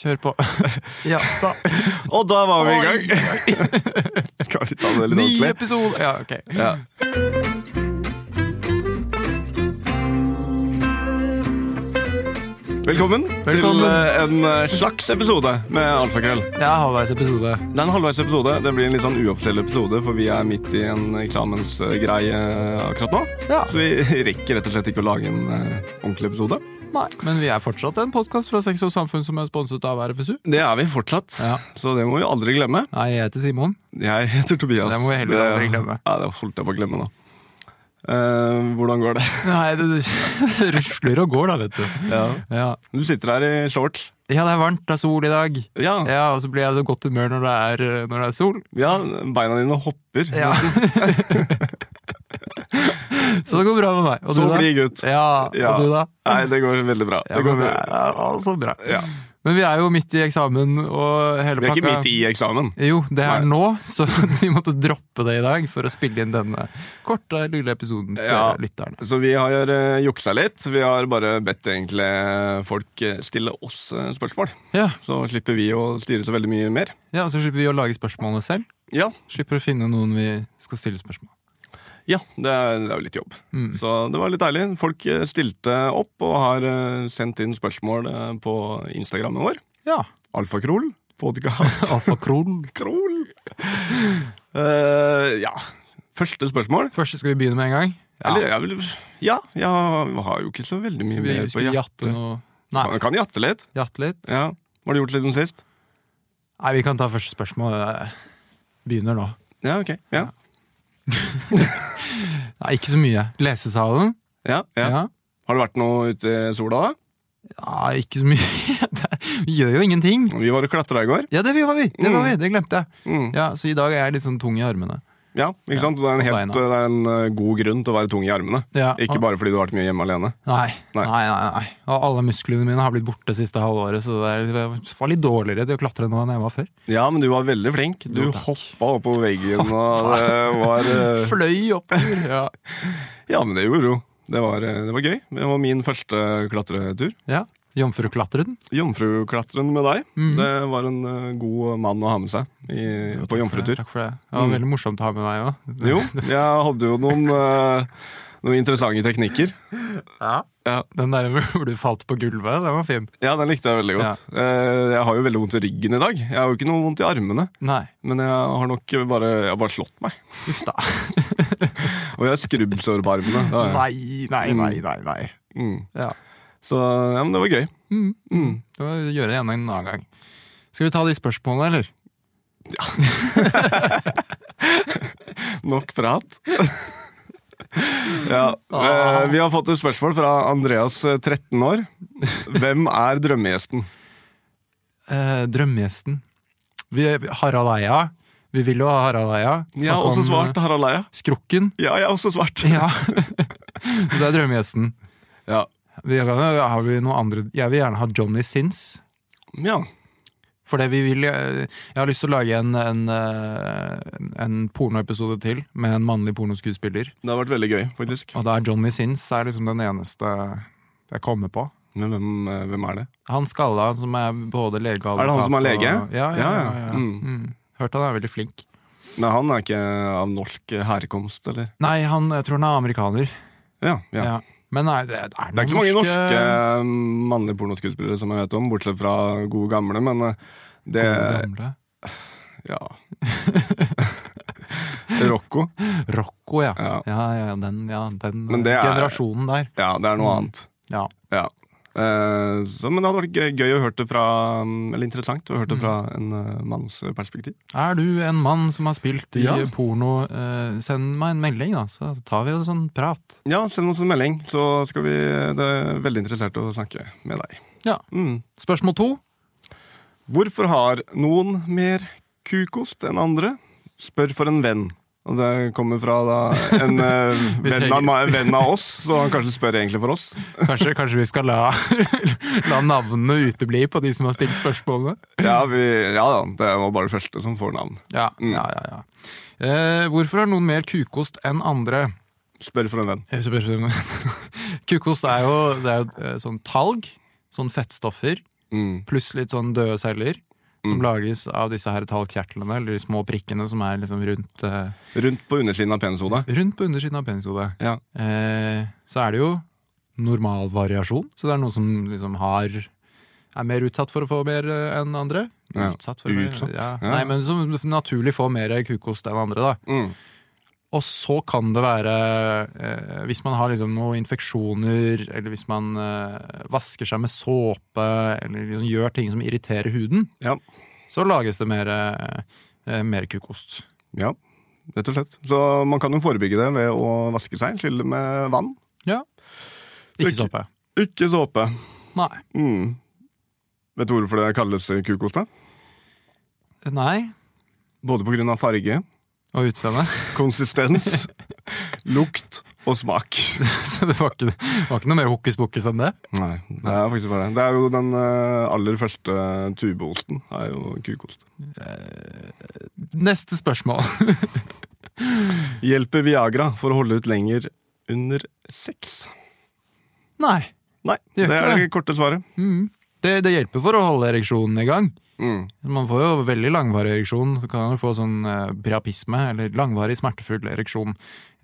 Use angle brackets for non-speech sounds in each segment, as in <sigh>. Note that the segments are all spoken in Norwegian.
Kjør på. <laughs> ja, <laughs> da. Og da var vi i Oi. gang! <laughs> Skal vi ta det litt Ny ordentlig? episode! Ja, ok. Ja. Velkommen, Velkommen. til eh, en eh, slags episode med Alfakrøll. Det er halvveis episode. Det er en halvveis episode. Det blir en litt sånn uoffisiell episode, for vi er midt i en eksamensgreie eh, akkurat nå. Ja. Så vi rekker rett og slett ikke å lage en eh, ordentlig episode. Nei. Men vi er fortsatt en podkast fra Sex og Samfunn som er sponset av RFSU. Det er vi fortsatt, Ja. så det må vi aldri glemme. Nei, jeg heter Simon. Jeg heter Tobias. Det må vi heller aldri glemme. Ja, det holdt jeg på å glemme nå. Eh, hvordan går det? Nei, du du <laughs> rusler og går, da, vet du. Ja. Du sitter her i shorts. ja, det er varmt. Det er sol i dag. Ja, ja. Ja, Og så blir jeg i så godt humør når det er, eh, når det er sol. beina dine hopper. <laughs> Ja. så det går bra med meg. Og Så du, da? blid gutt. Ja, Ja. Og du, da? Nei, det går veldig bra. Ja, det går men det veldig- er altså bra. Ja. Men vi er jo midt i eksamen og hele Vi er pakka. ikke midt i eksamen. Jo, det er Nei. nå, så <laughs> vi måtte droppe det i dag for å spille inn denne korte, lille episoden til Ja. lytterne. Så vi har eh, juksa litt. Vi har bare bedt egentlig folk eh, stille oss eh, spørsmål. Ja. Så slipper vi å styre så veldig mye mer. ja, Så slipper vi å lage spørsmålene selv. Ja, Slipper å finne noen vi skal stille spørsmål. ja det, er, det er jo litt jobb. Mm. Så det var litt deilig. Folk eh, stilte opp og har eh, sendt inn spørsmål eh, på Instagrammen vår. Ja. Alfakrol. Podcast. <laughs> Alfakron. Krol. Eh, ja. Første spørsmål. Først skal vi begynne med en gang. Eller jeg vil Ja, jeg har jo ikke så veldig mye Skal vi mer på skal vi jatte hjertet. noe Man Nei, kan jatte litt. jatte litt? Ja. Hva har du gjort siden sist? Nei, vi kan ta første spørsmål. eh, Begynner nå. Ja, ok. Ja. Nei, ikke så mye. Lesesalen? Ja, ja. ja. Har det vært noe ute i sola? da? Ja, ikke så mye. <laughs> Det er- Vi gjør jo ingenting. Vi var og klatra i går. Ja, det var vi! Det, var vi. det glemte jeg. Mm. Ja, Så i dag er jeg litt sånn tung i armene. Ja, ikke sant? Det er, en på helt, beina. det er en eh, god grunn til å være tung i armene. Ja, Ikke og, bare fordi du har vært mye hjemme alene. nei, Nei. nei, nei, nei. Og alle musklene mine har blitt borte siste halvåret, så det er, jeg var litt dårligere til å klatre nå enn jeg var før. Ja, men du var veldig flink. Du Jo, takk. hoppa oppover <laughs> veggen, og det var eh, Fløy opp! Ja. <laughs> Ja, men det gjorde du. Det var, eh, det var gøy. Det var min første klatretur. ja. Jomfruklatreren. Jomfruklatren med deg. Mhm. Det var en eh, god mann å ha med seg Jo, i, på takk for det, jomfrutur. Takk for det. Det var Mm. veldig morsomt å ha med deg òg. Jo, jeg hadde jo noen, eh, noen interessante teknikker. Ja. Ja. Den der hvor du falt på gulvet, den var fin. Ja, den likte jeg veldig godt. Eh, Jeg har jo veldig vondt i ryggen i dag. Jeg har jo ikke noe vondt i armene, Nei. men jeg har nok bare, jeg har bare slått meg. Uff da. Og jeg har skrubbsår på armene. det har jeg. <laughs> Nei, nei, nei, nei. nei. Mm. Ja. Så ja, men det var gøy. Mm. Mm. Det må vi gjøre igjen en annen gang. Skal vi ta de spørsmålene, eller? Nok prat. <laughs> ja, eh, vi har fått et spørsmål fra Andreas, eh, 13 år. Hvem er drømmegjesten? Eh, drømmegjesten. Vi, Harald Eia. Vi vil jo ha Harald Eia. Jeg har Snakke også om, svart eh, Harald Eia. Skrukken. <laughs> Ja, jeg har også svart. Ja. det er drømmegjesten. Ja. Vi, kan- har vi noe andre Jeg vil gjerne ha Johnny Sins. ja. For det vi vil eh, Jeg har lyst til å lage en, en, eh, en pornoepisode til med en mannlig pornoskuespiller. Det har vært veldig gøy, faktisk. Og da er Johnny Sins er liksom den eneste jeg kommer på. Men hvem, eh, hvem er det? Han skalla som er både lege og Er det han advokat som er og- lege? Ja, ja, Ja, ja, ja. ja. Mm. Mm. Hørt han er veldig flink. Nei, han er ikke av norsk eh, herkomst, eller? Nei, han, jeg tror han er amerikaner. Ja, ja. Ja. Men nei, det, det er Det er ikke så mange norske eh, mannlige pornoskuespillere som jeg vet om, bortsett fra gode gamle, men eh, det gamle. Ja. <laughs> Rocco. Rocco, ja. Ja. Ja, ja, ja den, ja, den Men det er- generasjonen der. Ja, det er noe annet. Ja. Ja. Eh, så, men det hadde vært gøy, gøy å høre det fra mm, Eller interessant å høre det fra en eh, manns perspektiv. Er du en mann som har spilt i Ja. porno, eh, send meg en melding, da, så tar vi en sånn prat. Ja, send oss en melding, så skal vi eh, Det er veldig interessert å snakke med deg. Ja. Mm. Spørsmål to. Hvorfor har noen mer kukost enn andre? Spør for en venn. Og det kommer fra da, en eh, Vi venn, av, meg- venn av oss, så han kanskje spør egentlig for oss. Kanskje, kanskje vi skal la, <laughs> la navnene utebli på de som har stilt spørsmålene? Ja, vi, ja da, det var bare det første som får navn. Ja, ja, ja, ja. Eh, hvorfor har noen mer kukost enn andre? Spør for en venn. Jeg <laughs> spør- Kukost er jo, det er jo eh, sånn talg, sånn fettstoffer, Mm. pluss litt sånn døde celler. Som Mm. lages av disse her talgkjertlene, eller de små prikkene som er liksom rundt, eh, Rundt på undersiden av penishodet. rundt på undersiden av penishodet. Ja. Eh, så er det jo normal variasjon. Så det er noen som liksom har er mer utsatt for å få mer eh, enn andre. Ja. å få mer- Utsatt? Ja. Ja. Nei, men som naturlig får mer kukost enn andre, da. Mm. Og så kan det være eh, Hvis man har liksom noen infeksjoner, eller hvis man eh, vasker seg med såpe, eller liksom gjør ting som irriterer huden, Ja. så lages det mer, eh, mer kukost. ja, rett og slett. Så man kan jo forebygge det ved å vaske seg, skylle med vann. Ikke Ikke- såpe. Ikke såpe. Nei. Mm. Vet du hvorfor det kalles kukost? da? Nei. Både pga. farge, Og utseende. <laughs> konsistens, lukt og smak. så det var ikke, det var ikke noe mer hokus pokus enn det. Nei, det er faktisk bare det. Det er jo den eh, aller første tubeosten. er jo kukost. Neste spørsmål. Hjelper Viagra for å holde ut lenger under sex? Nei. Nei, Det det gjør er ikke det korte svaret. Mm. Det, det hjelper for å holde ereksjonen i gang. Mm. Man får jo veldig langvarig ereksjon. Så kan man jo få sånn eh, priapisme, eller langvarig smertefull ereksjon,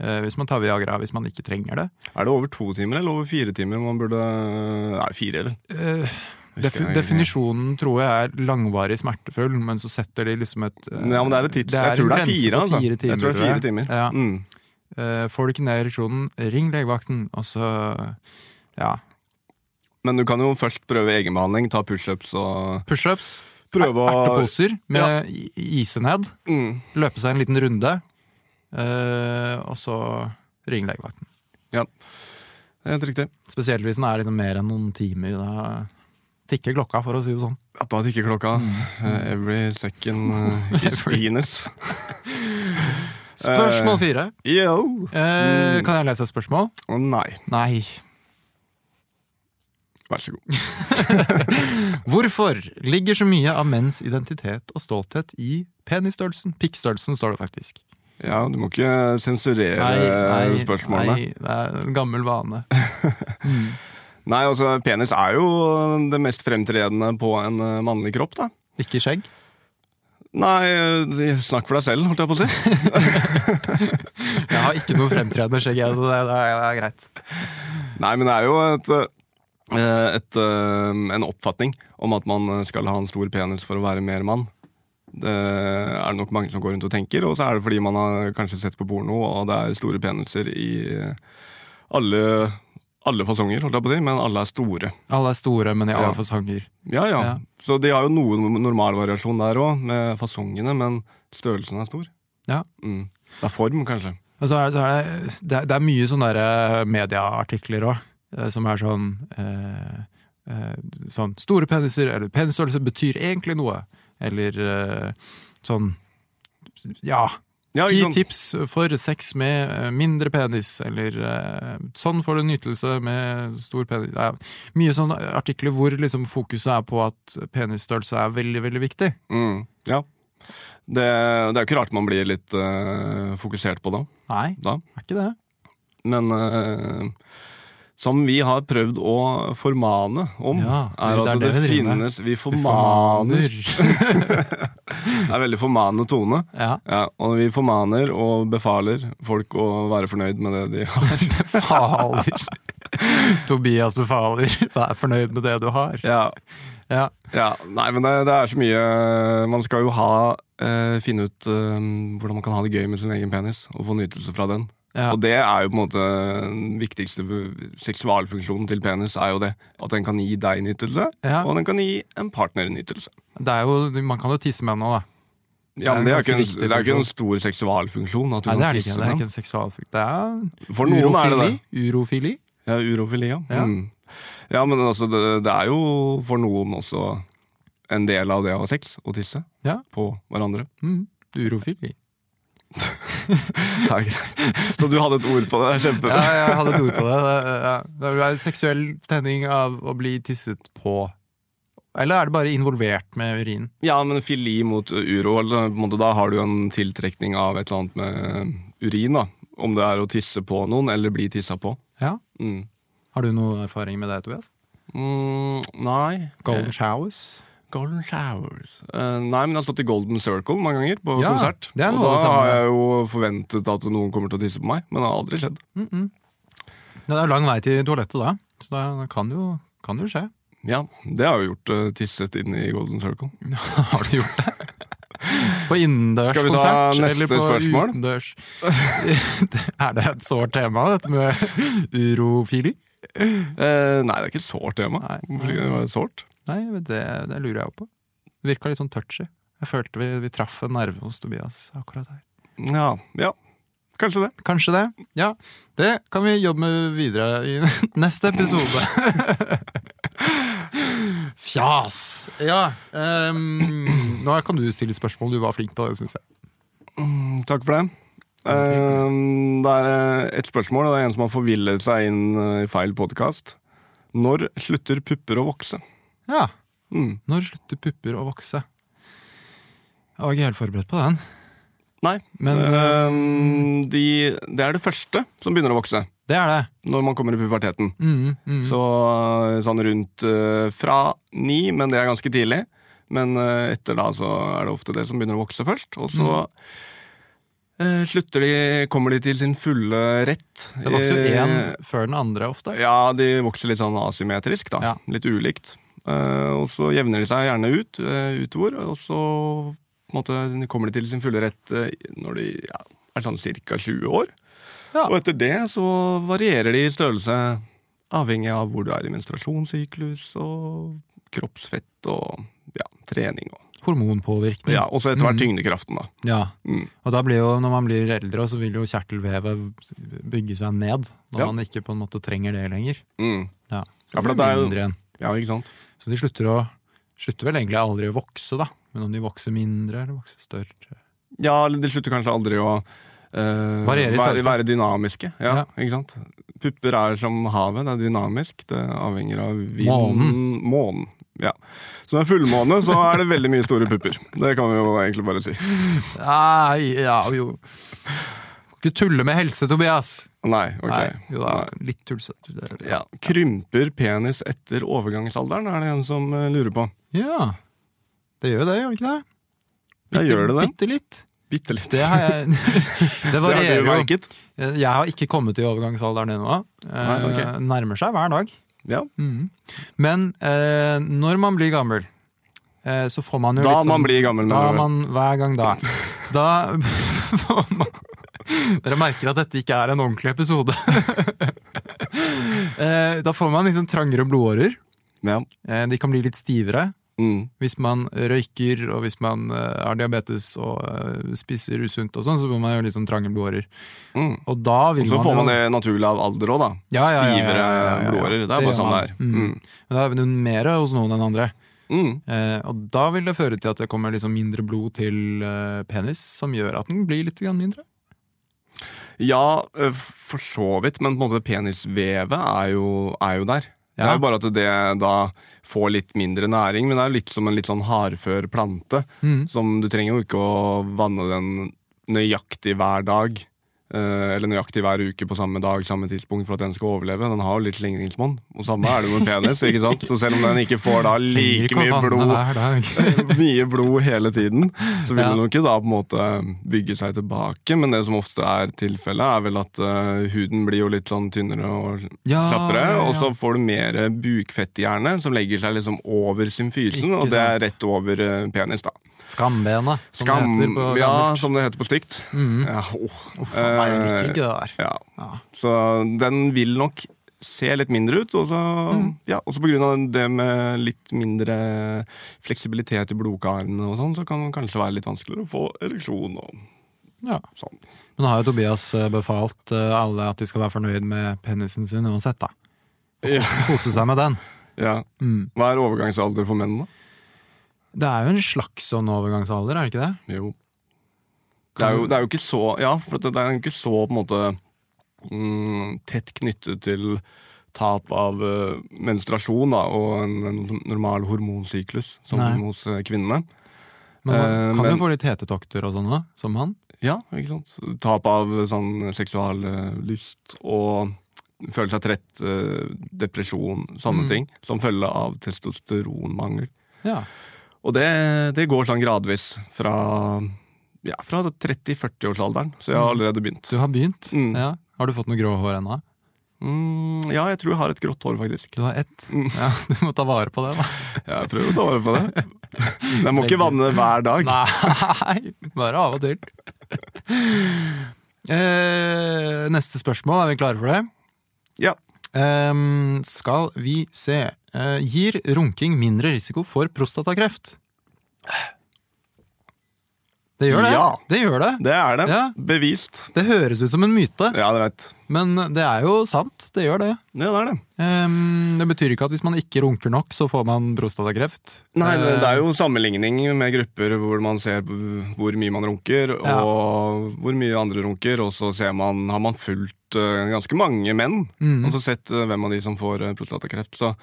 eh, hvis man tar Viagra hvis man ikke trenger det. Er det over to timer eller over fire timer man burde Nei, fire, eller? Eh, Husker defi- jeg- definisjonen tror jeg er langvarig smertefull, men så setter de liksom et eh, Ja, men det er et tids... Jeg en tror det er grense fire, på altså. fire timer, jeg tror det er fire tror jeg. timer. Ja. Mm. Eh, får du ikke ned ereksjonen, ring legevakten, og så ja. Men du kan jo først prøve egenbehandling, ta pushups og Pushups, prøve å erteposer med i- ise ned. mm. løpe seg en liten runde, eh, og så ringe legevakten. Det er helt riktig. Spesielt hvis den er liksom mer enn noen timer. Da tikker klokka, for å si det sånn. Ja, da tikker klokka. Eh, every <laughs> second eh, is penis. Spørsmål fire. Yo! Eh, Eh, Mm. kan jeg lese et spørsmål? Å nei. Nei. Vær så god. Hvorfor ligger så mye av menns identitet og stolthet i penisstørrelsen? Pikkstørrelsen, står det faktisk. Ja, du må ikke sensurere spørsmålene. Nei. nei, det er en gammel vane. altså, penis er jo det mest fremtredende på en eh, mannlig kropp, da. Ikke skjegg? Nei, eh, snakk for deg selv, holdt jeg på å si. Jeg har ikke noe fremtredende skjegg, jeg, så det, det, er, det er greit. Nei, men det er jo et, eh, et, eh, en oppfatning om at man skal ha en stor penis for å være mer mann. Det er det nok mange som går rundt og tenker, og så er det fordi man har kanskje sett på porno, og det er store peniser i alle, alle fasonger, holdt jeg på å si, men alle er store. Alle er store, men i alle Ja. fasonger. Ja, ja. Ja. Så de har jo noe normalvariasjon der òg, med fasongene, men størrelsen er stor. Ja. Mm. Det er form, kanskje. Og så er, så er det, det, er- det er mye sånne der, eh, medieartikler òg, som er sånn eh, eh, Sånn store peniser, eller penisstørrelse betyr egentlig noe. Eller eh, sånn Ja. Ja, Ti ikke sant? tips for sex med eh, mindre penis, eller eh, sånn får du nytelse med stor penis Det er Mye sånne artikler hvor liksom fokuset er på at penisstørrelse er veldig, veldig viktig. Mm. ja. Det, det er jo ikke rart man blir litt eh, fokusert på det. Nei, da. er ikke det. Men eh, som vi har prøvd å formane om, Ja, det er er at det det, vi driver med. finnes Vi Vi formaner. formaner. Det er veldig formanende tone. <laughs> ja. Ja, og vi formaner og befaler folk å være fornøyd med det de har. <laughs> Befaler. Tobias befaler. Vær fornøyd med det du har. Ja, Ja. ja. Nei, men det, det er så mye Man skal jo ha eh, finne ut eh, hvordan man kan ha det gøy med sin egen penis, og få nytelse fra den. Ja. Og det er jo på en måte den viktigste seksualfunksjonen til penis, er jo det. At den kan gi deg nytelse, Ja. og den kan gi en partner nytelse. Det er jo, man kan jo tisse med nå, da. Ja, men Det det er en er, ikke en, ganske viktig det er ikke en stor seksualfunksjon. At du Nei, det kan er det tisse ikke. Det er med ikke en seksualfrukt. Det er den. For noen er det det. urofili. Ja, urofili, ja. Ja. Mm. ja men altså, det, det er jo for noen også en del av det å ha sex, å tisse Ja. på <laughs> hverandre. Mm. Urofili. Det er greit. Så du hadde et ord på det. det er Kjempe. Ja, jeg hadde et ord på det. Det, ja. det er seksuell tenning av å bli tisset på. Eller er det bare involvert med urin? Ja, men fili mot uro, eller på en måte, da har du en tiltrekning av et eller annet med urin, da. Om det er å tisse på noen, eller bli tissa på. Ja. Mm. Har du noe erfaring med det, Tobias? Mm, nei. Golden Showers. Golden Showers Eh, Nei, men jeg har stått i Golden Circle mange ganger på Ja, konsert. det er noe og av det da samme. har jeg jo forventet at noen kommer til å tisse på meg, men det har aldri skjedd. Ja, det er lang vei til toalettet da, så det kan jo, kan jo skje. Ja, Det har jeg jo gjort. eh, tisset inn i Golden Circle. Mm. Har du gjort det? På innendørs Skal vi ta konsert, neste eller på spørsmål? utendørs? <laughs> er det et sårt tema, dette med urofili? Eh, nei, det er ikke sårt tema. Nei. Hvorfor skal det være sårt? Nei, men det, det lurer jeg jo på. Det virka litt sånn touchy. Jeg følte vi, vi traff en nerve hos Tobias akkurat her. Ja, ja, kanskje det. Kanskje det. Ja, det kan vi jobbe med videre i <laughs> neste episode. <laughs> Fjas! Ja. ehm, nå kan du stille spørsmål. Du var flink på det, syns jeg. Mm, Takk for det. Eh, det er eh, et spørsmål, og det er en som har forvillet seg inn eh, i feil podkast. Når slutter pupper å vokse? Ja. Mm. Når slutter pupper å vokse? Jeg var ikke helt forberedt på den. Nei, Men eh, de, det er det første som begynner å vokse det er det. når man kommer i puberteten. Mm, mm. Så eh, sånn rundt eh, fra ni, men det er ganske tidlig. Men eh, etter da så er det ofte det som begynner å vokse først. Og så eh, slutter de, kommer de til sin fulle rett. Mm. Det vokser jo Eh, én før den andre ofte. Ja, de vokser litt sånn asymmetrisk, da. Ja. Litt ulikt. Eh, og så jevner de seg gjerne ut eh, utover, og så på en måte, kommer de til sin fulle rett eh, når de ja, er sånn ca. 20 år. Ja. Og etter det så varierer de i størrelse avhengig av hvor du er i menstruasjonssyklus og kroppsfett og ja, trening og Hormonpåvirkning. ja, Og så etter hvert Mm. tyngdekraften, da. Ja. Mm. Og da blir jo, når man blir eldre, så vil jo kjertelvevet bygge seg ned. Når Ja. man ikke på en måte trenger det lenger. Mm. Ja, så Ja, for blir det er jo- mindre igjen. Ja, ikke sant? Så de slutter, å, slutter vel egentlig aldri å vokse, da. Men om de vokser mindre eller vokser større Ja, eller de slutter kanskje aldri å eh, Variere i være, størrelse. være dynamiske. Ja, Ja. ikke sant? Pupper er som havet, det er dynamisk. Det avhenger av Månen. vinden. Månen. Ja. Så når det er fullmåne, så er det veldig mye store pupper. Det kan vi jo egentlig bare si. Nei, ja, jo. Ikke tulle med helse, Tobias! Nei, ok. Nei, jo da, Nei. litt tulsete. det- Ja. Krymper penis etter overgangsalderen, er det en som eh, lurer på. Ja. Det gjør jo det, gjør det ikke det? Ja, gjør det det? Bitte litt. Bitte litt. Det har <laughs> jeg <laughs> Det Det har varierer du jo. merket. Jeg har ikke kommet til overgangsalderen ennå. Nei, ok. Eh, Nærmer seg hver dag. Ja. Mhm. Men eh, når man blir gammel, eh, så får man jo Da litt sånn man blir gammel. Da mener du. man Hver gang <laughs> da. Da <laughs> får man Dere merker at dette ikke er en ordentlig episode. <laughs> Eh, da får man liksom trangere blodårer. Ja. Eh, De kan bli litt stivere Mm. hvis man røyker og hvis man eh, har diabetes og eh, spiser usunt og sånn, så får man jo litt sånn trange blodårer. Mm. Og da vil Så man får jo- man det naturlig av alder òg, da. ja, ja, ja, ja, Stivere ja, ja, ja. blodårer. Det er bare gjør sånn det man. er. Mm. Men da er det mer hos noen enn andre. Mm. Eh, og da vil det føre til at det kommer liksom mindre blod til eh, penis, som gjør at den blir litt grann mindre. Ja, eh, for så vidt, men på en måte penisvevet er jo, er jo der. Det Ja. er jo bare at det da får litt mindre næring, men det er jo litt som en litt sånn hardfør plante. Mm. Som Du trenger jo ikke å vanne den nøyaktig hver dag, eh, eller nøyaktig hver uke på samme dag, samme tidspunkt, for at den skal overleve. Den har jo litt slingringsmonn. Og samme er det med penis, ikke sant? Så selv om den ikke får da like <laughs> Trenger ikke å mye vanne blod hver dag. <laughs> mye blod hele tiden, så vil Ja. det nok ikke da på en måte bygge seg tilbake. Men det som ofte er tilfellet, er vel at eh, huden blir jo litt sånn tynnere og Ja, slappere, Ah, ja, ja. og så får du mer bukfett i hjernen, som legger seg liksom over symfysen, Ikke og det er sant. rett over eh, penis, da. Skambenet, som Skam, det heter på ja, Eh, gammelt. som det heter på stygt. Mhm. Ja, åh. Eh, Uff, nei, jeg liker ikke det der. ja. Ja. Så den vil nok se litt mindre ut, og så, Mm. ja, og så på grunn av det med litt mindre fleksibilitet i blodkarene og sånn, så kan det kanskje være litt vanskeligere å få ereksjon og Ja. sånn. Men nå har jo Tobias eh, befalt eh, alle at de skal være fornøyd med penisen sin uansett, da. Ja. Kose seg med den. ja. Mm. Hva er overgangsalder for menn, da? Det er jo en slags sånn overgangsalder, er det ikke det? Jo. Det er jo, det er jo ikke så Ja, for det er jo ikke så på en måte mm, tett knyttet til tap av eh, menstruasjon da, og en, en normal hormonsyklus som Nei. hos eh, kvinnene. Men man Eh, kan men- jo få litt hetetokter og sånn, da, som han. Ja, ikke sant? Tap av sånn seksuallyst og føle seg trett, eh, depresjon, sånne Mm. ting. Som følge av testosteronmangel. Ja. Og det, det går sånn gradvis fra, ja, fra 30-40-årsalderen. Så jeg har allerede begynt. Du har begynt? Mm. Ja. Har du fått noe grå hår ennå? Mm, ja, jeg tror jeg har et grått hår, faktisk. Du har ett. Mm. Ja, <laughs> du må ta vare på det, da. Jeg prøver å ta vare på <laughs> det. Jeg må ikke vanne det hver dag. Nei, bare av og til. <laughs> Eh, neste spørsmål, er vi klare for det? Ja. Ehm, skal vi se Eh, Gir runking mindre risiko for prostatakreft? Det gjør det. Ja. Det gjør det. Det er det. Ja. Bevist. Det høres ut som en myte, Ja, det veit. men det er jo sant. Det gjør det. Ja, det er det. Ehm, det betyr ikke at hvis man ikke runker nok, så får man prostatakreft. Nei, det det Eh, er jo sammenligning med grupper hvor man ser hvor mye man runker, og hvor mye andre runker, og så ser man, har man fulgt eh, ganske mange menn, Mhm. og så sett eh, hvem av de som får eh, prostatakreft. Så.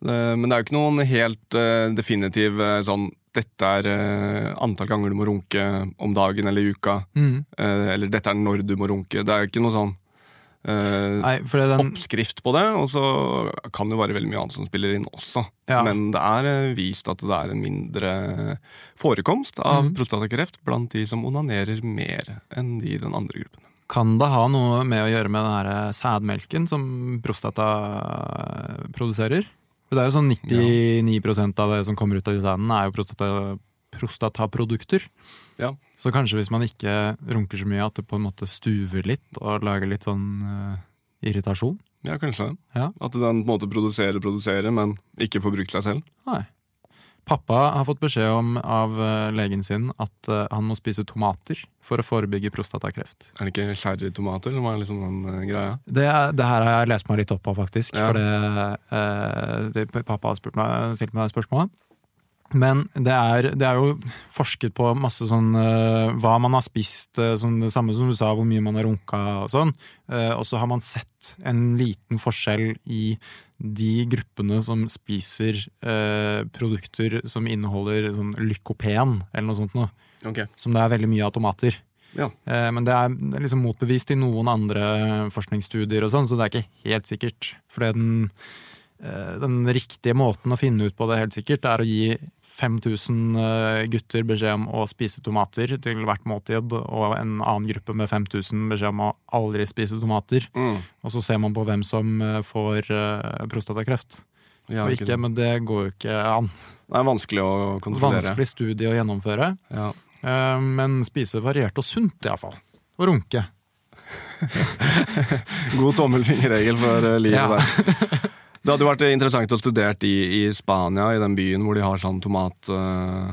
eh, men det er jo ikke noen helt eh, definitiv eh, sånn dette er eh, antall ganger du må runke om dagen eller i uka, mm. eh, eller dette er når du må runke. Det er jo ikke noe sånn eh, Nei, for det er den, oppskrift på det, og så kan det jo være veldig mye annet som spiller inn også. Ja. Men det er eh, vist at det er en mindre forekomst av Mhm. prostatakreft blant de som onanerer mer enn de i den andre gruppen. Kan det ha noe med å gjøre med den her eh, sædmelken som prostata produserer? For Det er jo sånn 99 av det som kommer ut av sæden, er jo prostata, prostataprodukter. Ja. Så kanskje hvis man ikke runker så mye, at det på en måte stuver litt og lager litt sånn eh, irritasjon? Ja, kanskje det. Ja. At den på en måte produserer og produserer, men ikke får brukt seg selv. Nei. Pappa har fått beskjed om av eh, legen sin at eh, han må spise tomater for å forebygge prostatakreft. Er det ikke sherrytomater som er liksom den eh, greia? Det, er- det her har jeg lest meg litt opp på, faktisk. Ja. For det, eh, det, pappa har spurt meg, stilt meg spørsmål. Men det er, det er jo forsket på masse sånn eh, hva man har spist, eh, sånn, det samme som du sa, hvor mye man har runka og sånn. Eh, og så har man sett en liten forskjell i de gruppene som spiser eh, produkter som inneholder sånn lykopen eller noe sånt noe Ok. som det er veldig mye av tomater. Ja. Eh, Men det er det er liksom motbevist i noen andre eh, forskningsstudier, og sånn, så det er ikke helt sikkert. Fordi den, eh, den riktige måten å finne ut på det helt sikkert, er å gi 5000 eh, gutter beskjed om å spise tomater til hvert måltid, og en annen gruppe med 5000 beskjed om å aldri spise tomater. Mm. Og så ser man på hvem som eh, får eh, prostatakreft Ja, og ikke ikke, sant. men det går jo ikke an. Det er vanskelig å kontrollere. Vanskelig studie å gjennomføre. Ja. Eh, Men spise variert og sunt, iallfall. Og runke. God tommelfingerregel for eh, livet Ja. der. Det hadde jo vært eh, interessant å studere i, i Spania, i den byen hvor de har sånn tomat, eh,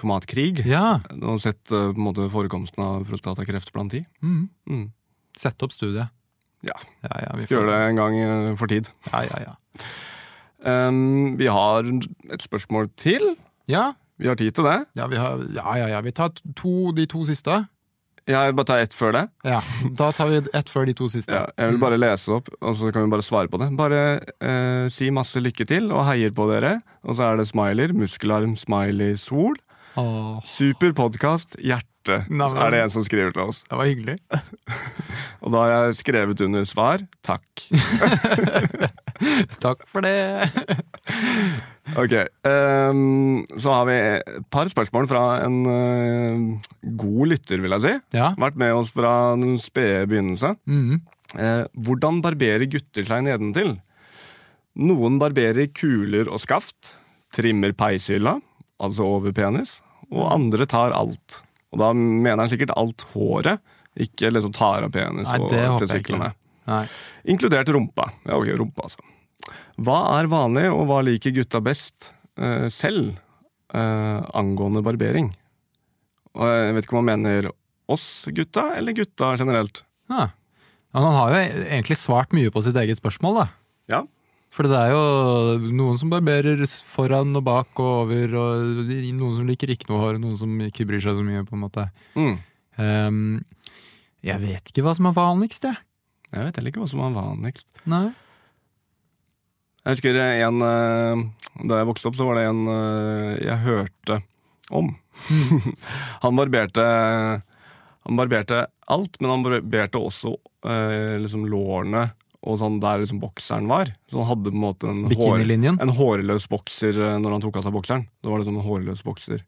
tomatkrig. Ja. Og sett eh, på en måte forekomsten av prostatakreft blant de. Mm. Mm. Sett opp studiet. Ja. ja, ja vi Skal får- gjøre det en gang eh, for tid. Ja, ja, ja. Em, vi har et spørsmål til. Ja, Vi har tid til det. ja, vi har, ja, ja, ja. Vi tar to, de to siste. Jeg bare tar ett før det. Ja, Da tar vi ett før de to siste. Ja, jeg vil bare lese opp, og så kan vi bare svare på det. Bare eh, si masse lykke til og heier på dere. Og så er det smiler. Muskelarm, smiley, sol. Åh, Super podkast, hjerte, Nei, men- er det en som skriver til oss. det var hyggelig. Og da har jeg skrevet under svar takk. Takk for det. Ok, ehm, Så har vi et par spørsmål fra en eh, god lytter, vil jeg si. Ja. Vært med oss fra den spede begynnelse. Mm. Eh, hvordan barberer gutter seg nedentil? Noen barberer kuler og skaft, trimmer peishylla, altså over penis, og andre tar alt. Og da mener han sikkert alt håret, ikke liksom tar av penis Nei, det og håper jeg testiklene. ikke. Nei. Inkludert rumpa. Ja, ok, rumpa altså. Hva er vanlig, og hva liker gutta best eh, selv eh, angående barbering? Og jeg vet ikke om han mener oss gutta, eller gutta generelt. Ja. Ja, han har jo e-, egentlig svart mye på sitt eget spørsmål, da. Ja, For det er jo noen som barberer foran og bak og over, og noen som liker ikke noe hår, og noen som ikke bryr seg så mye, på en måte. mm. Ehm, jeg vet ikke hva som er vanligst, jeg. Jeg vet heller ikke hva som var vanligst. Nei. Jeg husker en eh, Da jeg vokste opp, så var det en eh, jeg hørte om. <laughs> han barberte Han barberte alt, men han barberte også eh, liksom lårene og sånn der liksom bokseren var. Så han hadde på en måte en, hår, Bikinilinjen. en hårløs bokser eh, når han tok av seg bokseren. Det var liksom en hårløs bokser.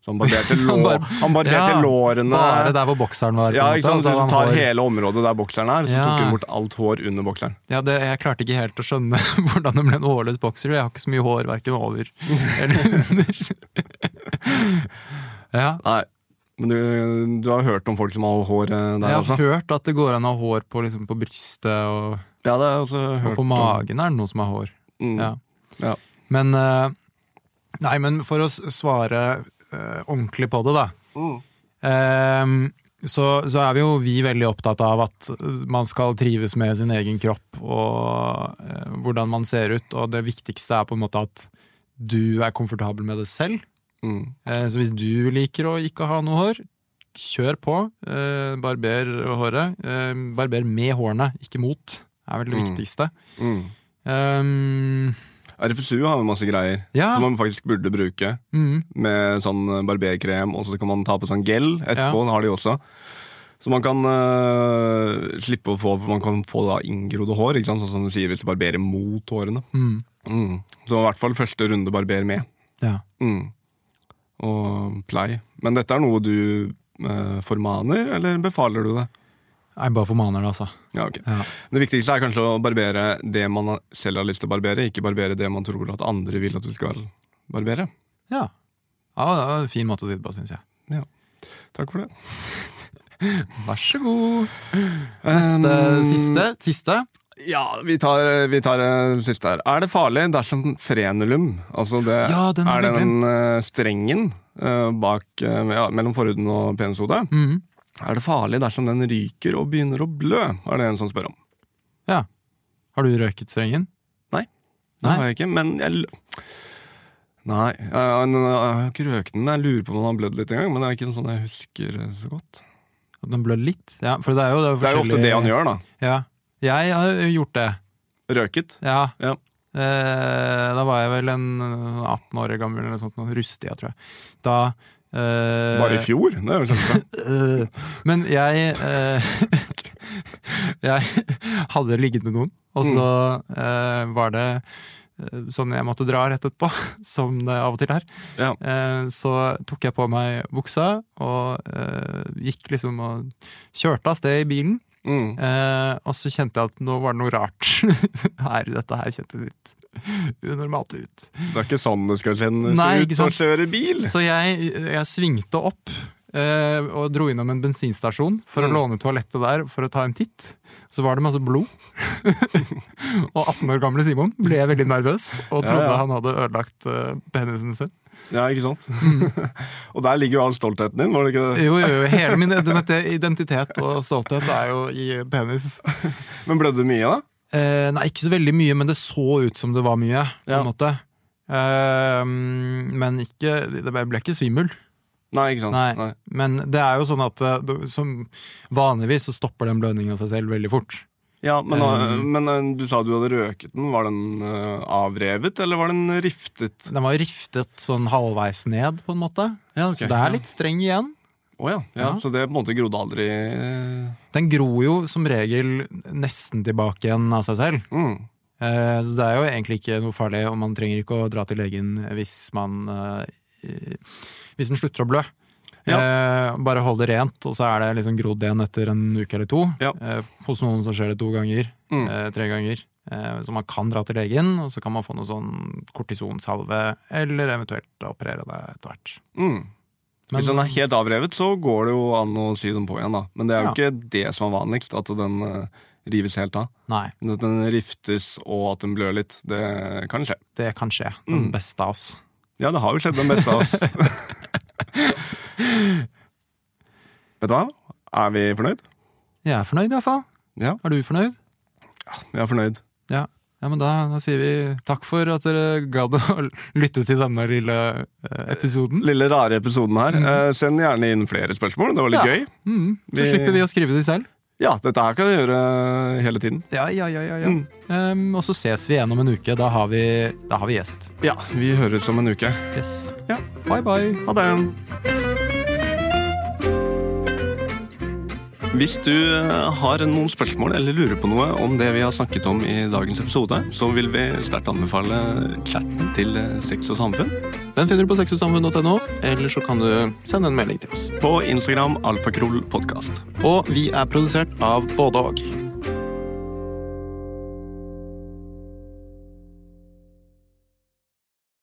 Så <laughs> han barberte, Så han lå, bar- han barberte Ja, lårene. Bare der hvor bokseren var. på ja, en måte, ikke sant? og så hadde Så hvis du han tar hår- hele området der bokseren er, så Ja. tok hun bort alt hår under bokseren. Ja, det, jeg klarte ikke helt å skjønne <laughs> hvordan det ble en hårløs bokser. Jeg har ikke så mye hår verken over eller <laughs> under. ja, Nei, men du, du har hørt om folk som har hår eh, der, jeg har altså? hørt at det går an å ha hår på, liksom, på brystet og, Ja, det har jeg også hørt og på om. magen. Er det noen som har hår? Mm. Ja. Ja. Men, eh, nei, men for å s- svare eh, ordentlig på det, da. Mm. Ehm, så, så er vi jo vi veldig opptatt av at eh, man skal trives med sin egen kropp og eh, hvordan man ser ut, og det viktigste er på en måte at du er komfortabel med det selv. Mm. Eh, Så hvis du liker å ikke ha noe hår, kjør på. Eh, Barber håret. Eh, Barber med hårene, ikke mot. Det er vel det Mm. viktigste. Mm. Ehm, RFSU har jo masse greier ja. som man faktisk burde bruke. Mm. Med sånn barberkrem, og så kan man ta på sånn gel etterpå. Det har de også. Så man kan øh, slippe å få Man kan få da inngrodde hår, ikke sant? sånn som du sier hvis du barberer mot hårene. Mm. Mm. Så i hvert fall første runde barber med. ja. Mm. Og pleie. Men dette er noe du øh, formaner, eller befaler du det? Jeg bare formaner det, altså. Ja, ok. Ja. Det viktigste er kanskje å barbere det man selv har lyst til å barbere, ikke barbere det man tror at andre vil at du skal barbere. ja. Ja, det var en fin måte å si det på, syns jeg. Takk for det. Vær så god. Neste, Um, siste. Siste. Ja, vi tar, vi tar eh, siste her. Er det farlig dersom frenulum, altså det Ja, den har er vi den eh, strengen eh, bak, eh, ja, mellom forhuden og penishodet, Mm. er det farlig dersom den ryker og begynner å blø? Er det en som spør om. Ja. Har du røket strengen? Det Nei. har jeg ikke, men jeg l- Nei, jeg, jeg, har ikke røkt den. men Jeg lurer på om den har blødd litt engang, men det er ikke sånn jeg husker eh, så godt. At den blør litt? Ja, for det er jo, det er jo Det er jo ofte det han gjør, da. Ja. Jeg har gjort det. Røket. Ja. Ja. Eh, da var jeg vel en eh, 18 år gammel eller noe sånt, noe rustig, jeg tror jeg. Da eh, Bare i fjor. Det er vel <laughs> kjempebra. eh, Men jeg eh, <laughs> Jeg hadde ligget med noen, og så eh, var det eh, sånn jeg måtte dra rett etterpå, <laughs> som det av og til er. Ja. Eh, så tok jeg på meg buksa og eh, gikk liksom og kjørte av sted i bilen. Mm. Eh, og så kjente jeg at nå var det noe rart. <laughs> her, dette her kjente litt unormalt ut. Det er ikke sånn det skal kjennes Nei, ikke ut å sant. kjøre bil! Så jeg, jeg svingte opp eh, og dro innom en bensinstasjon for Mm. å låne toalettet der for å ta en titt. Så var det masse blod. <laughs> og 18 år gamle Simon ble veldig nervøs og Ja, trodde ja. han hadde ødelagt eh, penisen sin. Ja, ikke sant? Mm. <laughs> og der ligger jo all stoltheten din, var det ikke det? Jo, jo, jo, hele min identitet og stolthet er jo i penis. Men blødde det mye, da? Eh, nei, ikke så veldig mye, men det så ut som det var mye. På Ja. en måte. Eh, men ikke, det ble ikke svimmel. Nei, ikke sant? Nei. Men det er jo sånn at eh, du- som vanligvis så stopper den blødningen av seg selv veldig fort. Ja, men, da- Um. men eh, du sa du hadde røket den. Var den eh, avrevet, eller var den riftet? Den var jo riftet sånn halvveis ned, på en måte. Ja, Så det er litt streng igjen. Å ja. ja. Ja. Så det på en måte grodde aldri eh, Den gror jo som regel nesten tilbake igjen av seg selv. mm. Eh, så det er jo egentlig ikke noe farlig, og man trenger ikke å dra til legen hvis man eh, i- Hvis den slutter å blø. Eh, bare hold det rent, og så er det liksom grodd igjen etter en uke eller to. Ja. Eh, hos noen så skjer det to ganger, Mm. eh, tre ganger. Eh, så man kan dra til legen, og så kan man få noe sånn kortisonsalve, eller eventuelt operere deg etter hvert. Mm. Men- Hvis den er helt avrevet, så går det jo an å sy den på igjen, da. Men det er jo Ja. ikke det som er vanligst, at den eh, rives helt av. Nei, Men At den riftes og at den blør litt, det kan skje. det kan skje. Den Mm. beste av oss. Ja, det har jo skjedd den beste <laughs> av oss. Vet du hva? Er vi fornøyd? Jeg er fornøyd, iallfall. Ja, Er du fornøyd? vi er fornøyd. Ja. ja, men da, da sier vi takk for at dere gadd å <laughs> lytte til denne lille eh, episoden. Lille rare episoden her. Eh, Send gjerne inn flere spørsmål, det var Mm. litt Ja. gøy. Mm, så Vi- slipper vi å skrive de selv. Ja, dette her kan du gjøre eh, hele tiden. Ja, ja, ja, ja, ja. Mm. Ehm, og så ses vi igjen om en uke. Da har vi, da har vi gjest. Ja, vi høres om en uke. Yes. Ja. Bye, bye. Ha det. Hvis du har noen spørsmål eller lurer på noe om det vi har snakket om i dagens episode, så vil vi sterkt anbefale chatten til Sex og samfunn. Den finner du på sexogsamfunn.no, eller så kan du sende en melding til oss. På Instagram alfakrøllpodkast. Og vi er produsert av både og.